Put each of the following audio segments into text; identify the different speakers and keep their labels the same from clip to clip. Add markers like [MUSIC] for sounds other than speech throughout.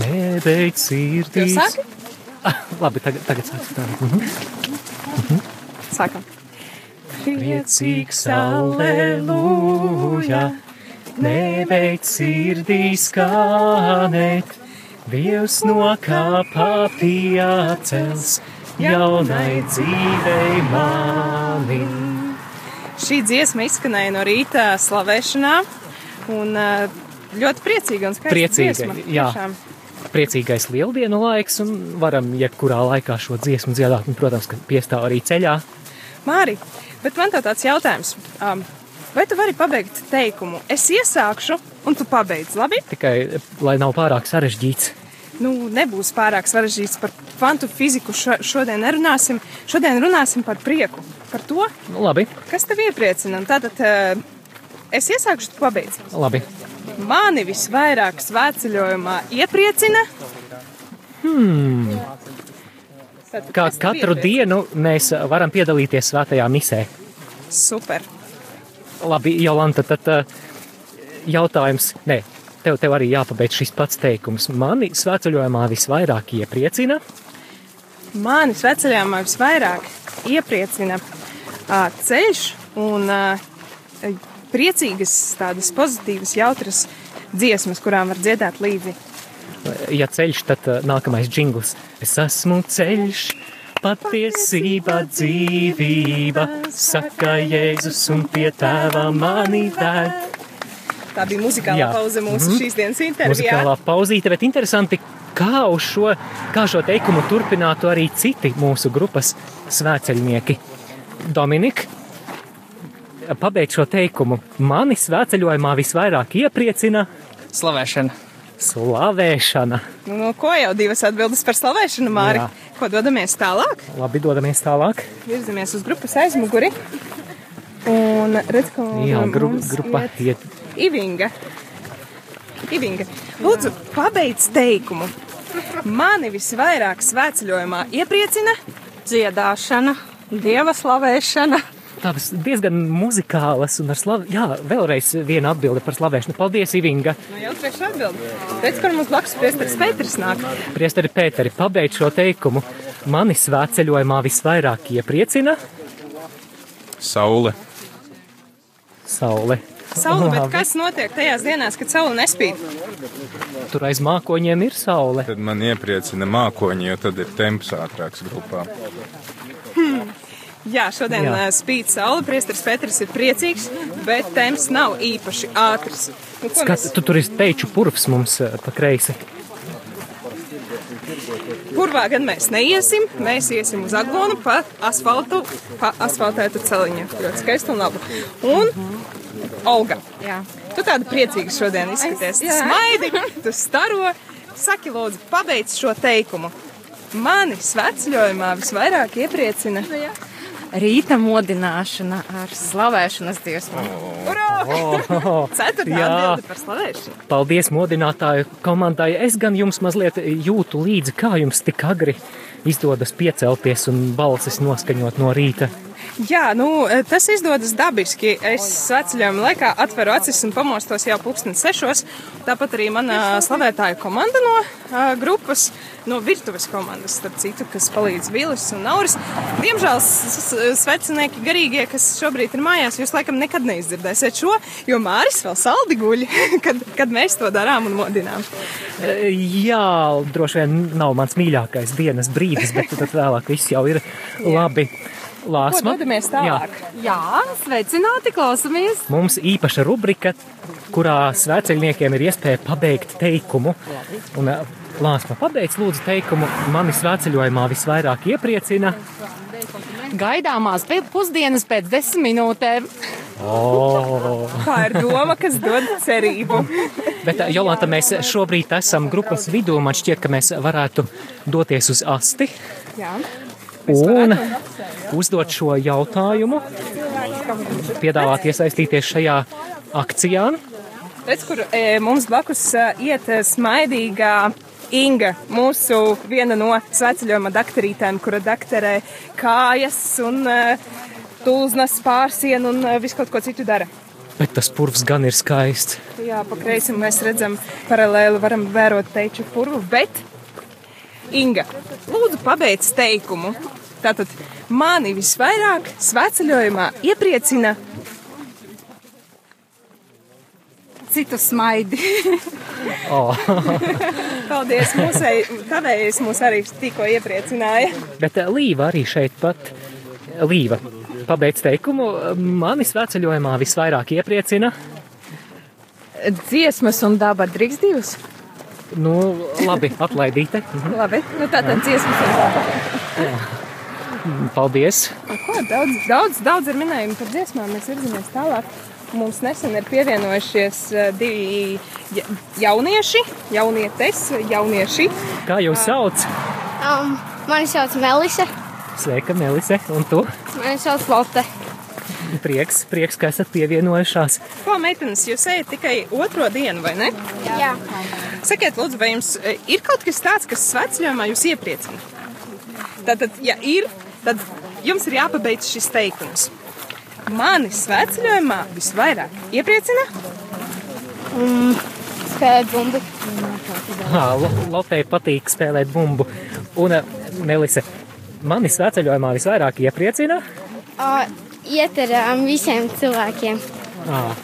Speaker 1: nebeidz
Speaker 2: Jau
Speaker 1: sirdīs.
Speaker 2: sāki?
Speaker 1: Labi, tagad, tagad sāksim. tā.
Speaker 2: Sākam.
Speaker 1: Priecīgs, aleluja, nebeidz sirdīs kanēt. Dievs no kāpā piecels, jaunai dzīvei mani.
Speaker 2: Šī dziesma izskanēja no rīta slavēšanā. Un ā, ļoti priecīga un skaista
Speaker 1: Priecīga,
Speaker 2: dziesma.
Speaker 1: jā.
Speaker 2: tiešām.
Speaker 1: Priecīgais lieldienu laiks, un varam jebkurā laikā šo dziesmu dziedāt, un, protams, ka piestāv arī ceļā.
Speaker 2: Māri, bet man tev tāds jautājums. Um, vai tu vari pabeigt teikumu? Es iesākšu, un tu pabeidz. Labi?
Speaker 1: Tikai, lai nav pārāk sarežģīts.
Speaker 2: Nu, nebūs pārāk sarežģīts par kvantu fiziku. Šo, šodien nerunāsim. Šodien runāsim par prieku. Par to,
Speaker 1: Nu, labi,
Speaker 2: kas tev iepriecina. Un Tātad ā, es iesākšu, tu pabeidz.
Speaker 1: labi.
Speaker 2: Mani visvairāk svētceļojumā iepriecina. Hmm. Tad,
Speaker 1: Hmm. Kā katru dienu mēs varam piedalīties svētajā misē.
Speaker 2: Super.
Speaker 1: Labi, Jolanta, tad ā, jautājums. Nē, tev, tev arī jāpabeidz šis pats teikums. Mani svētceļojumā visvairāk iepriecina.
Speaker 2: Mani sveceļojumā visvairāk iepriecina ā, ceļš un ā, priecīgas, tādas pozitīvas, jautras dziesmas, kurām var dziedāt līdzi.
Speaker 1: eh, Ja ceļš, tad ā, nākamais jingls. Es esmu ceļš, patiesība, dzīvība. Saka Jēzus un pie tēva mani vēl.
Speaker 2: Tā bija muzikāla
Speaker 1: Jā. Mhm.
Speaker 2: pauze mūsu mm -hmm. šīs dienas intervijā.
Speaker 1: Mūzikālā pauzīte, bet interesanti, kā uz šo, kā šo teikumu turpinātu arī citi mūsu grupas svēceļnieki. Dominika, pabeidz šo teikumu. Mani svēceļojumā visvairāk iepriecina
Speaker 3: Slavēšana.
Speaker 1: slavēšana.
Speaker 2: Nu, no ko jau divas atbildes par slavēšanu, Māri?
Speaker 1: Jā.
Speaker 2: Ko dodamies tālāk?
Speaker 1: Labi, dodamies tālāk.
Speaker 2: Virzamies uz grupas aizmuguri. Un redz, ka
Speaker 1: Jā, gru,
Speaker 2: mums
Speaker 1: grupa
Speaker 2: iet
Speaker 1: iet.
Speaker 2: Ivinga. Ivinga. Lūdzu, pabeidz teikumu. Mani visvairāk svētceļojumā iepriecina
Speaker 4: dziedāšana, dieva slavēšana.
Speaker 1: Tādas diezgan muzikālas un ar slavu. Jā, vēlreiz viena atbilde par slavēšanu. Paldies, Ivinga.
Speaker 2: Nu, jau trešā atbilde. Redz, kur mums blakus priesteris Pēters nāk.
Speaker 1: Priesteri Pēteri, pabeidz šo teikumu. Mani svēceļojumā visvairāk iepriecina
Speaker 5: Saule.
Speaker 1: saule.
Speaker 2: Saula, bet
Speaker 1: Labi.
Speaker 2: kas notiek tajās dienās, kad saule nespīd?
Speaker 1: Tur aiz mākoņiem ir saule.
Speaker 5: Tad man iepriecina mākoņi, jo tad ir temps ātrāks grupā.
Speaker 2: Jā, šodien
Speaker 1: Jā.
Speaker 2: Jā. spīd saule, priesteris Pēters ir priecīgs, bet temps nav īpaši ātrs. Nu, ko
Speaker 1: Skat, tu tur ir teiču purvs mums eh, pa kreisi.
Speaker 2: Kurvā gan mēs neiesim, mēs iesim uz aglonu pa asfaltu, pa asfaltētu celiņu. Ļoti skaisti un labi. Un Olga,
Speaker 4: Jā.
Speaker 2: tu tāda priecīga šodien izskaties.
Speaker 4: Es- jā.
Speaker 2: Smaidi, tu staro. Saki, lūdzu, pabeidz šo teikumu. Mani svecļojumā visvairāk iepriecina.
Speaker 4: Rīta modināšana ar slavēšanas dziesmu.
Speaker 2: Urā!
Speaker 1: Oh,
Speaker 2: [LAUGHS] Ceturtā
Speaker 1: jā.
Speaker 2: atbilde par slavēšanu.
Speaker 1: paldies modinātāju komandai. Es gan jums mazliet eh, jūtu līdzi, kā jums tik agri izdodas piecelties un balsis noskaņot no rīta.
Speaker 2: Jā, nu, e, tas izdodas dabiski. Es sveceļojuma laikā atveru acis un pamostos jau pulksten sešos. Tāpat arī mana slavētāja komanda no ā, grupas, no virtuves komandas, starp citu, kas palīdz Vīlis un Nauris. Diemžēl s- s- svecinieki garīgie, kas šobrīd ir mājās, jūs laikam nekad neizdzirdēsiet šo, jo Māris vēl saldi guļ, [LAUGHS] kad, kad mēs to darām un modinām.
Speaker 1: Eh, Jā, droši vien nav mans mīļākais dienas brīdis, bet tad vēlāk viss jau ir labi.
Speaker 2: Ko
Speaker 1: Lāsma.
Speaker 2: dodamies
Speaker 1: Jā.
Speaker 2: tālāk?
Speaker 4: Jā, sveicināti, klausamies!
Speaker 1: Mums īpaša rubrika, kurā svēceļniekiem ir iespēja pabeigt teikumu. Un, eh, Lāsma, pabeidz lūdzu teikumu. Mani svēceļojumā visvairāk iepriecina.
Speaker 4: Gaidāmās pie- pusdienas pēc desmit minūtēm.
Speaker 1: Oh.
Speaker 2: Tā ir doma, kas dod cerību.
Speaker 1: Bet, eh, Jolanta, mēs šobrīd esam grupas vidū. Man šķiet, ka mēs varētu doties uz asti
Speaker 2: Jā.
Speaker 1: un uzdot šo jautājumu. Piedāvāt iesaistīties šajā akcijā.
Speaker 2: Redz, kur e, mums blakus e, iet e, smaidīgā Inga, mūsu viena no sveceļojuma daktarītēm, kura dakterē kājas un e, tulznas pārsienu un e, visu kaut ko citu dara.
Speaker 1: Bet tas purvs gan ir skaists.
Speaker 2: Nu Jā, pa kreisi mēs redzam paralēli, varam vērot teču purvu, bet Inga, lūdzu, pabeidz teikumu. Tātad mani visvairāk sveceļojumā iepriecina
Speaker 3: Citu smaidi.
Speaker 1: Oh.
Speaker 2: [LAUGHS] Paldies! Mūsei, tavējais mūs arī tikko iepriecināja.
Speaker 1: Bet eh, Līva arī šeit pat eh, Līva. Pabeidz teikumu, mani sveceļojumā visvairāk iepriecina.
Speaker 6: Dziesmas un daba drīkst divas.
Speaker 1: Nu, labi, atlaidīte. Mhm.
Speaker 6: Labi, nu tā tad dziesmas un daba.
Speaker 1: Paldies.
Speaker 2: Ko, daudz, daudz, daudz ir minējumi par dziesmām, mēs virzamies tālāk. Mums nesen ir pievienojušies eh, divi ja- jaunieši, jaunietes, jaunieši.
Speaker 1: Kā jūs sauc?
Speaker 3: Um, mani sauc Melise,
Speaker 1: Sveika, Melise, un tu?
Speaker 3: mani sauc Lotte.
Speaker 1: Prieks, prieks, ka esat pievienojušās.
Speaker 2: Ko, meitenes, jūs ejat tikai otro dienu, vai ne?
Speaker 3: Jā.
Speaker 2: Sakiet, lūdzu, vai jums eh, ir kaut kas tāds, kas svecļojumā jūs iepriecina? Tātad, ja ir, tad jums ir jāpabeidz šis teikums. Mani svecļojumā visvairāk iepriecina
Speaker 3: Spēlē bumbi.
Speaker 1: Ah, Lopei patīk spēlēt bumbu. Un, eh, Melise, mani sveceļojumā visvairāk iepriecina
Speaker 3: Uh, Ieterām visiem cilvēkiem.
Speaker 1: ah,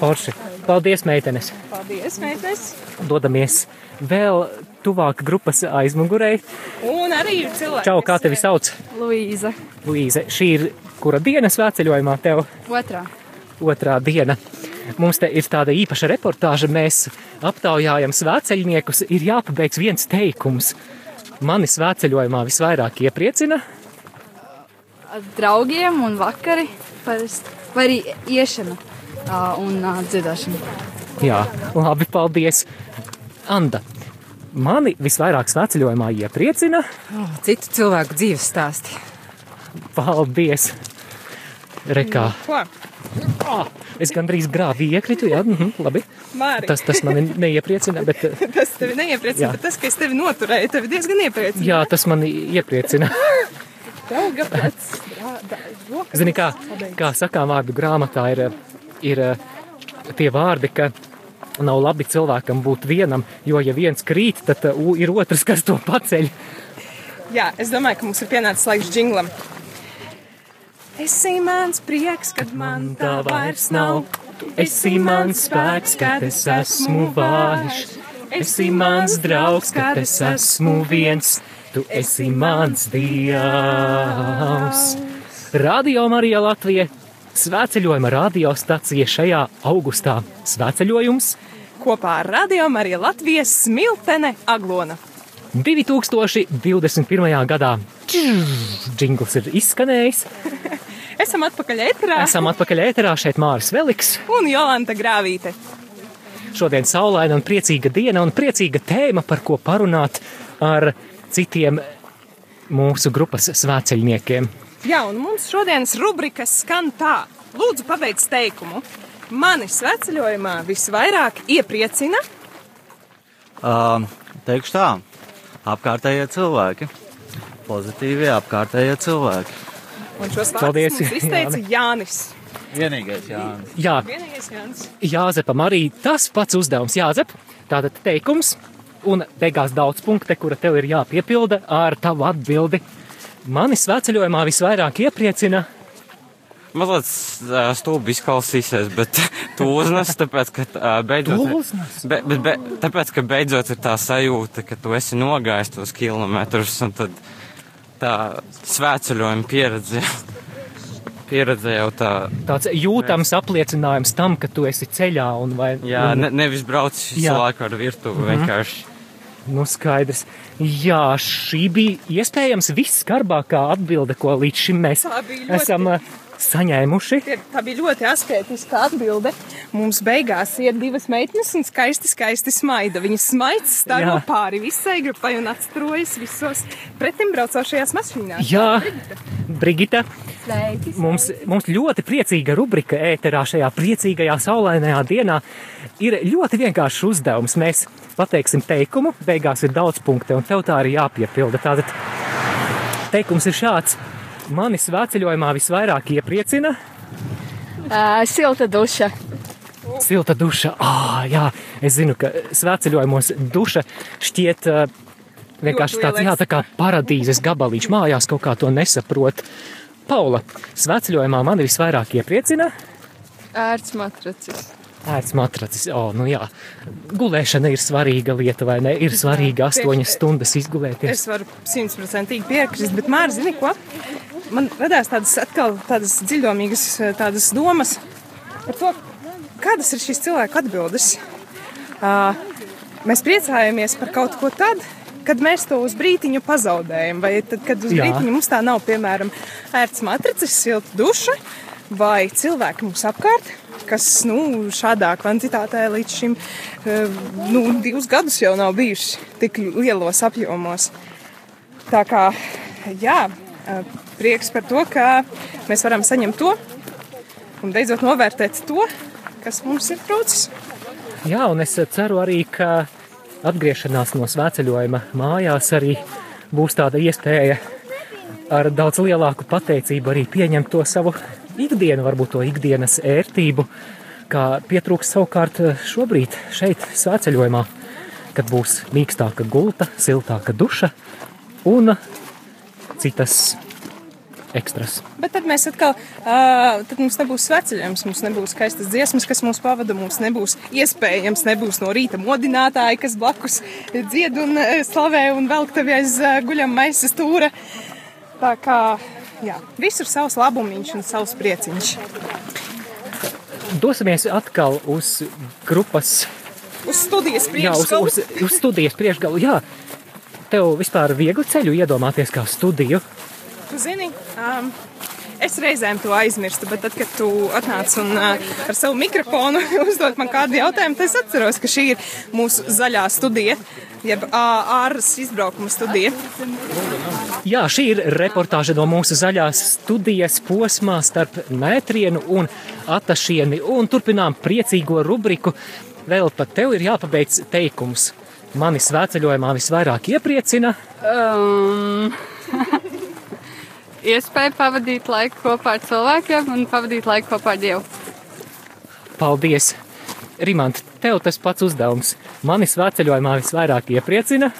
Speaker 1: Forši. Paldies, meitenes!
Speaker 2: Paldies, meitenes!
Speaker 1: Dodamies vēl tuvāk grupas aizmugurē.
Speaker 2: Un arī ir cilvēki.
Speaker 1: Čau, kā tevi sauc?
Speaker 6: Luīza.
Speaker 1: Luīze, šī ir kura diena sveceļojumā tev?
Speaker 6: Otrā.
Speaker 1: otrā diena. Mums te ir tāda īpaša reportāža. Mēs aptaujājam svēceļniekus. Ir jāpabeigts viens teikums. Mani svēceļojumā visvairāk iepriecina.
Speaker 6: Ar draugiem un vakari parasti. Vai arī iešana ā, un ā, dziedāšana.
Speaker 1: Jā, labi, paldies. Anda, mani visvairāk svēceļojumā iepriecina.
Speaker 7: Citu cilvēku dzīves stāsti.
Speaker 1: Paldies! Rekā.
Speaker 2: Ko?
Speaker 1: Ah, es gandrīz grāvī iekritu. Jā, mhm, labi.
Speaker 2: Māri, tas,
Speaker 1: Tas, tas mani neiepriecina, bet eh,
Speaker 2: tas tevi neiepriecina,
Speaker 1: Jā.
Speaker 2: bet tas, ka es tevi noturēju, tevi diezgan iepriecina.
Speaker 1: jā, tas mani iepriecina. [LAUGHS]
Speaker 2: Dauga pēc.
Speaker 1: Zini, kā, kā sakām, vārdu grāmatā ir, ir eh, tie vārdi, ka nav labi cilvēkam būt vienam, jo ja viens krīt, tad uh, ir otrs, kas to paceļ.
Speaker 2: Jā, es domāju, ka mums ir pienācis laiks džinglam. Esi mans prieks, kad man tā vairs nav.
Speaker 1: Esi mans spēks, kad es esmu vājš. Esi mans draugs, kad es esmu viens. Tu esi mans dievs. Radio Marija Latvija svēceļojuma radiostacija šajā augustā. Svēceļojums!
Speaker 2: Kopā ar radio arī Latvijas smiltene Aglona.
Speaker 1: 2021. gadā džingls ir izskanējis.
Speaker 2: Esam atpakaļ ētrā
Speaker 1: Esam atpakaļ ēterā šeit Māris Veliks.
Speaker 2: un Jolanta Grāvīte.
Speaker 1: Šodien saulaina un priecīga diena un priecīga tēma, par ko parunāt ar citiem mūsu grupas svēceļniekiem.
Speaker 2: Jā, un mums šodienas rubrika skan tā. Lūdzu, pabeidz teikumu. Mani sveceļojumā visvairāk iepriecina
Speaker 8: Um, teikšu tā, apkārtējie cilvēki. Pozitīvie apkārtējie cilvēki.
Speaker 2: Un šos vārdus
Speaker 1: Paldies,
Speaker 2: mums izteica Jānis.
Speaker 8: Vienīgais, Jānis.
Speaker 1: Jā,
Speaker 2: Vienīgais Jānis.
Speaker 1: Jāzepam arī tas pats uzdevums. Jāzep, tātad teikums un beigās daudz punkte, kura tev ir jāpiepilda ar tavu atbildi. Mani svēceļojumā visvairāk iepriecina
Speaker 9: Mazliet ā, stulbi izklausīsies, bet [LAUGHS] tu uznes, tāpēc, ka ā, beidzot.
Speaker 1: Tūznes?
Speaker 9: Be, bet, be, tāpēc, ka beidzot ir tā sajūta, ka tu esi nogājis tos kilometrus un tad tā svētceļojuma pieredze. [LAUGHS] Pieredze jau tā,
Speaker 1: tāds jūtams apliecinājums tam, ka tu esi ceļā un vai
Speaker 9: jā,
Speaker 1: un,
Speaker 9: ne, nevis brauc visu
Speaker 1: Mhm. Jā.
Speaker 9: laiku ar virtuvi vienkārši.
Speaker 1: Nu, skaidrs. Jā, šī bija iespējams viskarbākā atbilde, ko līdz šim mēs
Speaker 2: Tā bija ļoti-
Speaker 1: esam eh, saņēmuši.
Speaker 2: Tie- Tā bija ļoti asketiska atbilde. Mums beigās ir divas meitenes un skaisti, skaisti smaida. Viņas smaids staro
Speaker 1: Jā.
Speaker 2: pāri visai grupai un atstrojas visos pretimbraucošajās mašīnās.
Speaker 1: Jā, Brigita, mums, mums ļoti priecīga rubrika ēterā šajā priecīgajā saulainajā dienā. Ir ļoti vienkāršs uzdevums. Mēs pateiksim teikumu, beigās ir daudz punktu, un tev tā arī jāpiepilda. Tātad teikums ir šāds. Mani svēceļojumā visvairāk iepriecina
Speaker 6: Ā, Silta duša.
Speaker 1: Silta duša. Ah, jā, es zinu, ka svētceļojumos duša šķiet ā, vienkārši
Speaker 2: Ļoti
Speaker 1: tāds jā, tā kā paradīzes gabaliņš. Mājās kaut kā to nesaprot. Paula, svētceļojumā mani visvairāk iepriecina
Speaker 6: Ērts matracis.
Speaker 1: ērts matracis. Oh, nu jā. Gulēšana ir svarīga lieta, vai ne? Ir svarīgi astoņas stundas izgulēties.
Speaker 2: Es varu simtprocentīgi piekrist, bet Mārcis, zini ko? Man radās tādas atkal tādas dziļdomīgas eh, tādas domas par to, kādas ir šīs cilvēku atbildes. Uh, mēs priecājamies par kaut ko tad, kad mēs to uz brīdiņu pazaudējam, vai tad, kad uz
Speaker 1: Jā.
Speaker 2: brīdiņu mums tā nav, piemēram, ērts matracis, silta duša vai cilvēki mums apkārt. Kas nu, šādā kvantitātē līdz šim eh, nu, divus gadus jau nav bijuši tik lielos apjomos. Tā kā jā, eh, prieks par to, ka mēs varam saņemt to un beidzot novērtēt to, kas mums ir trūcis.
Speaker 1: Jā, un es ceru arī, ka atgriešanās no svētceļojuma mājās arī būs tāda iespēja ar daudz lielāku pateicību arī pieņemt to savu ikdienu, varbūt to ikdienas ērtību, kā pietrūks savukārt šobrīd šeit svētceļojumā, kad būs mīkstāka gulta, siltāka duša un citas ekstras.
Speaker 2: Bet tad mēs atkal, ā, tad mums nebūs sveceļojums, mums nebūs skaistas dziesmas, kas mūs pavada, mums nebūs iespējams, nebūs no rīta modinātāji, kas blakus dzied un ā, slavē un velk tevi aiz ā, guļam maisas stūra. Tā kā, jā, visur savs labumiņš un savs prieciņš.
Speaker 1: Dosimies atkal uz grupas
Speaker 2: Uz studijas
Speaker 1: Jā, uz,
Speaker 2: priekšskalu.
Speaker 1: uz, uz studijas priekšgalu. Jā. Tev vispār ir viegli ceļu iedomāties kā studiju.
Speaker 2: Tu zini, um, es reizēm to aizmirstu, bet tad, kad tu atnāc un uh, ar savu mikrofonu [LAUGHS] uzdod man kādu jautājumu, tad es atceros, ka šī ir mūsu zaļā studija, jeb uh, ārras izbraukuma studija.
Speaker 1: Jā, šī ir reportāža no mūsu zaļās studijas posmā starp mētrienu un atašieni. Un turpinām priecīgo rubriku. Vēl pat tev ir jāpabeidz teikums. Mani svētceļojumā visvairāk iepriecina.
Speaker 6: Um, [LAUGHS] iespēja pavadīt laiku kopā ar cilvēkiem un pavadīt laiku kopā ar Dievu.
Speaker 1: Paldies! Rimant, tev tas pats uzdevums. Mani svētceļojumā visvairāk iepriecina.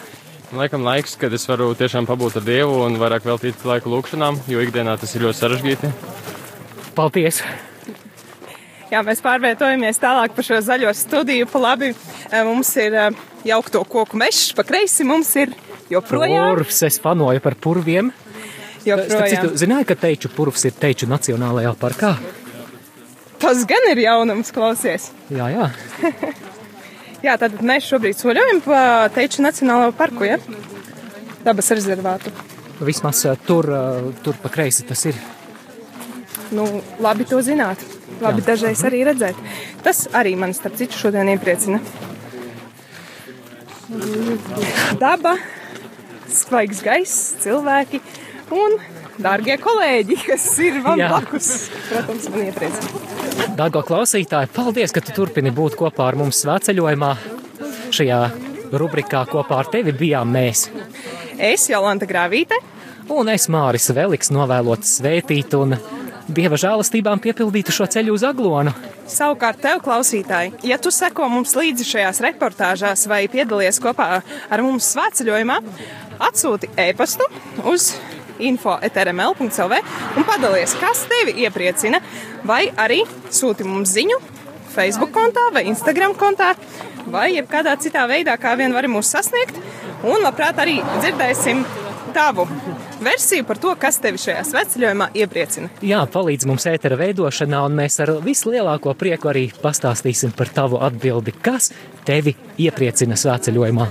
Speaker 10: Laikam laiks, kad es varu tiešām pabūt ar Dievu un vairāk veltīt laiku lūkšanām, jo ikdienā tas ir ļoti sarežģīti.
Speaker 1: Paldies!
Speaker 2: Jā, mēs pārvietojamies tālāk pa šo zaļo studiju. Pa labi eh, mums ir eh, jaukto koku mežs, pa kreisi mums ir joprojām.
Speaker 1: Purvs, es panoju par purviem. Starp citu,
Speaker 2: joprojām.
Speaker 1: zināju, ka teču purvs ir teču nacionālajā parkā.
Speaker 2: Tas gan ir jaunums, klausies.
Speaker 1: Jā, jā.
Speaker 2: Jā, tātad mēs šobrīd soļojam pa Teiču Nacionālo parku, ja? Dabas rezervātu.
Speaker 1: Vismaz eh, tur, eh, tur pa kreisi tas ir.
Speaker 2: Nu, labi to zināt. Labi
Speaker 1: Jā.
Speaker 2: Jā. dažreiz arī redzēt. Tas arī man starp citu šodien iepriecina. Daba, svaigs gaiss, cilvēki un dārgie kolēģi, kas ir man
Speaker 1: Jā.
Speaker 2: blakus. Protams, man iepriecina.
Speaker 1: Dārgā klausītāja, paldies, ka tu turpini būt kopā ar mums svētceļojumā. Šajā rubrikā kopā ar tevi bijām mēs.
Speaker 2: Es, Jolanta Grāvīte,
Speaker 1: Un es Māris Veliks novēlot sveitīt un dieva žēlastībām piepildītu šo ceļu uz aglonu.
Speaker 2: Savukārt, tev, klausītāji, ja tu seko mums līdzi šajās reportāžās vai piedalies kopā ar mums svētceļojumā, atsūti e-pastu uz info.rml.cl un padalies, kas tevi iepriecina, vai arī sūti mums ziņu Facebook kontā vai Instagram kontā, vai jebkādā citā veidā, kā vien vari mūs sasniegt, un labprāt arī dzirdēsim tavu versiju par to, kas tevi šajā svētceļojumā iepriecina.
Speaker 1: Jā, palīdz mums ētera veidošanā, un mēs ar vislielāko prieku arī pastāstīsim par tavu atbildi, kas tevi iepriecina svētceļojumā.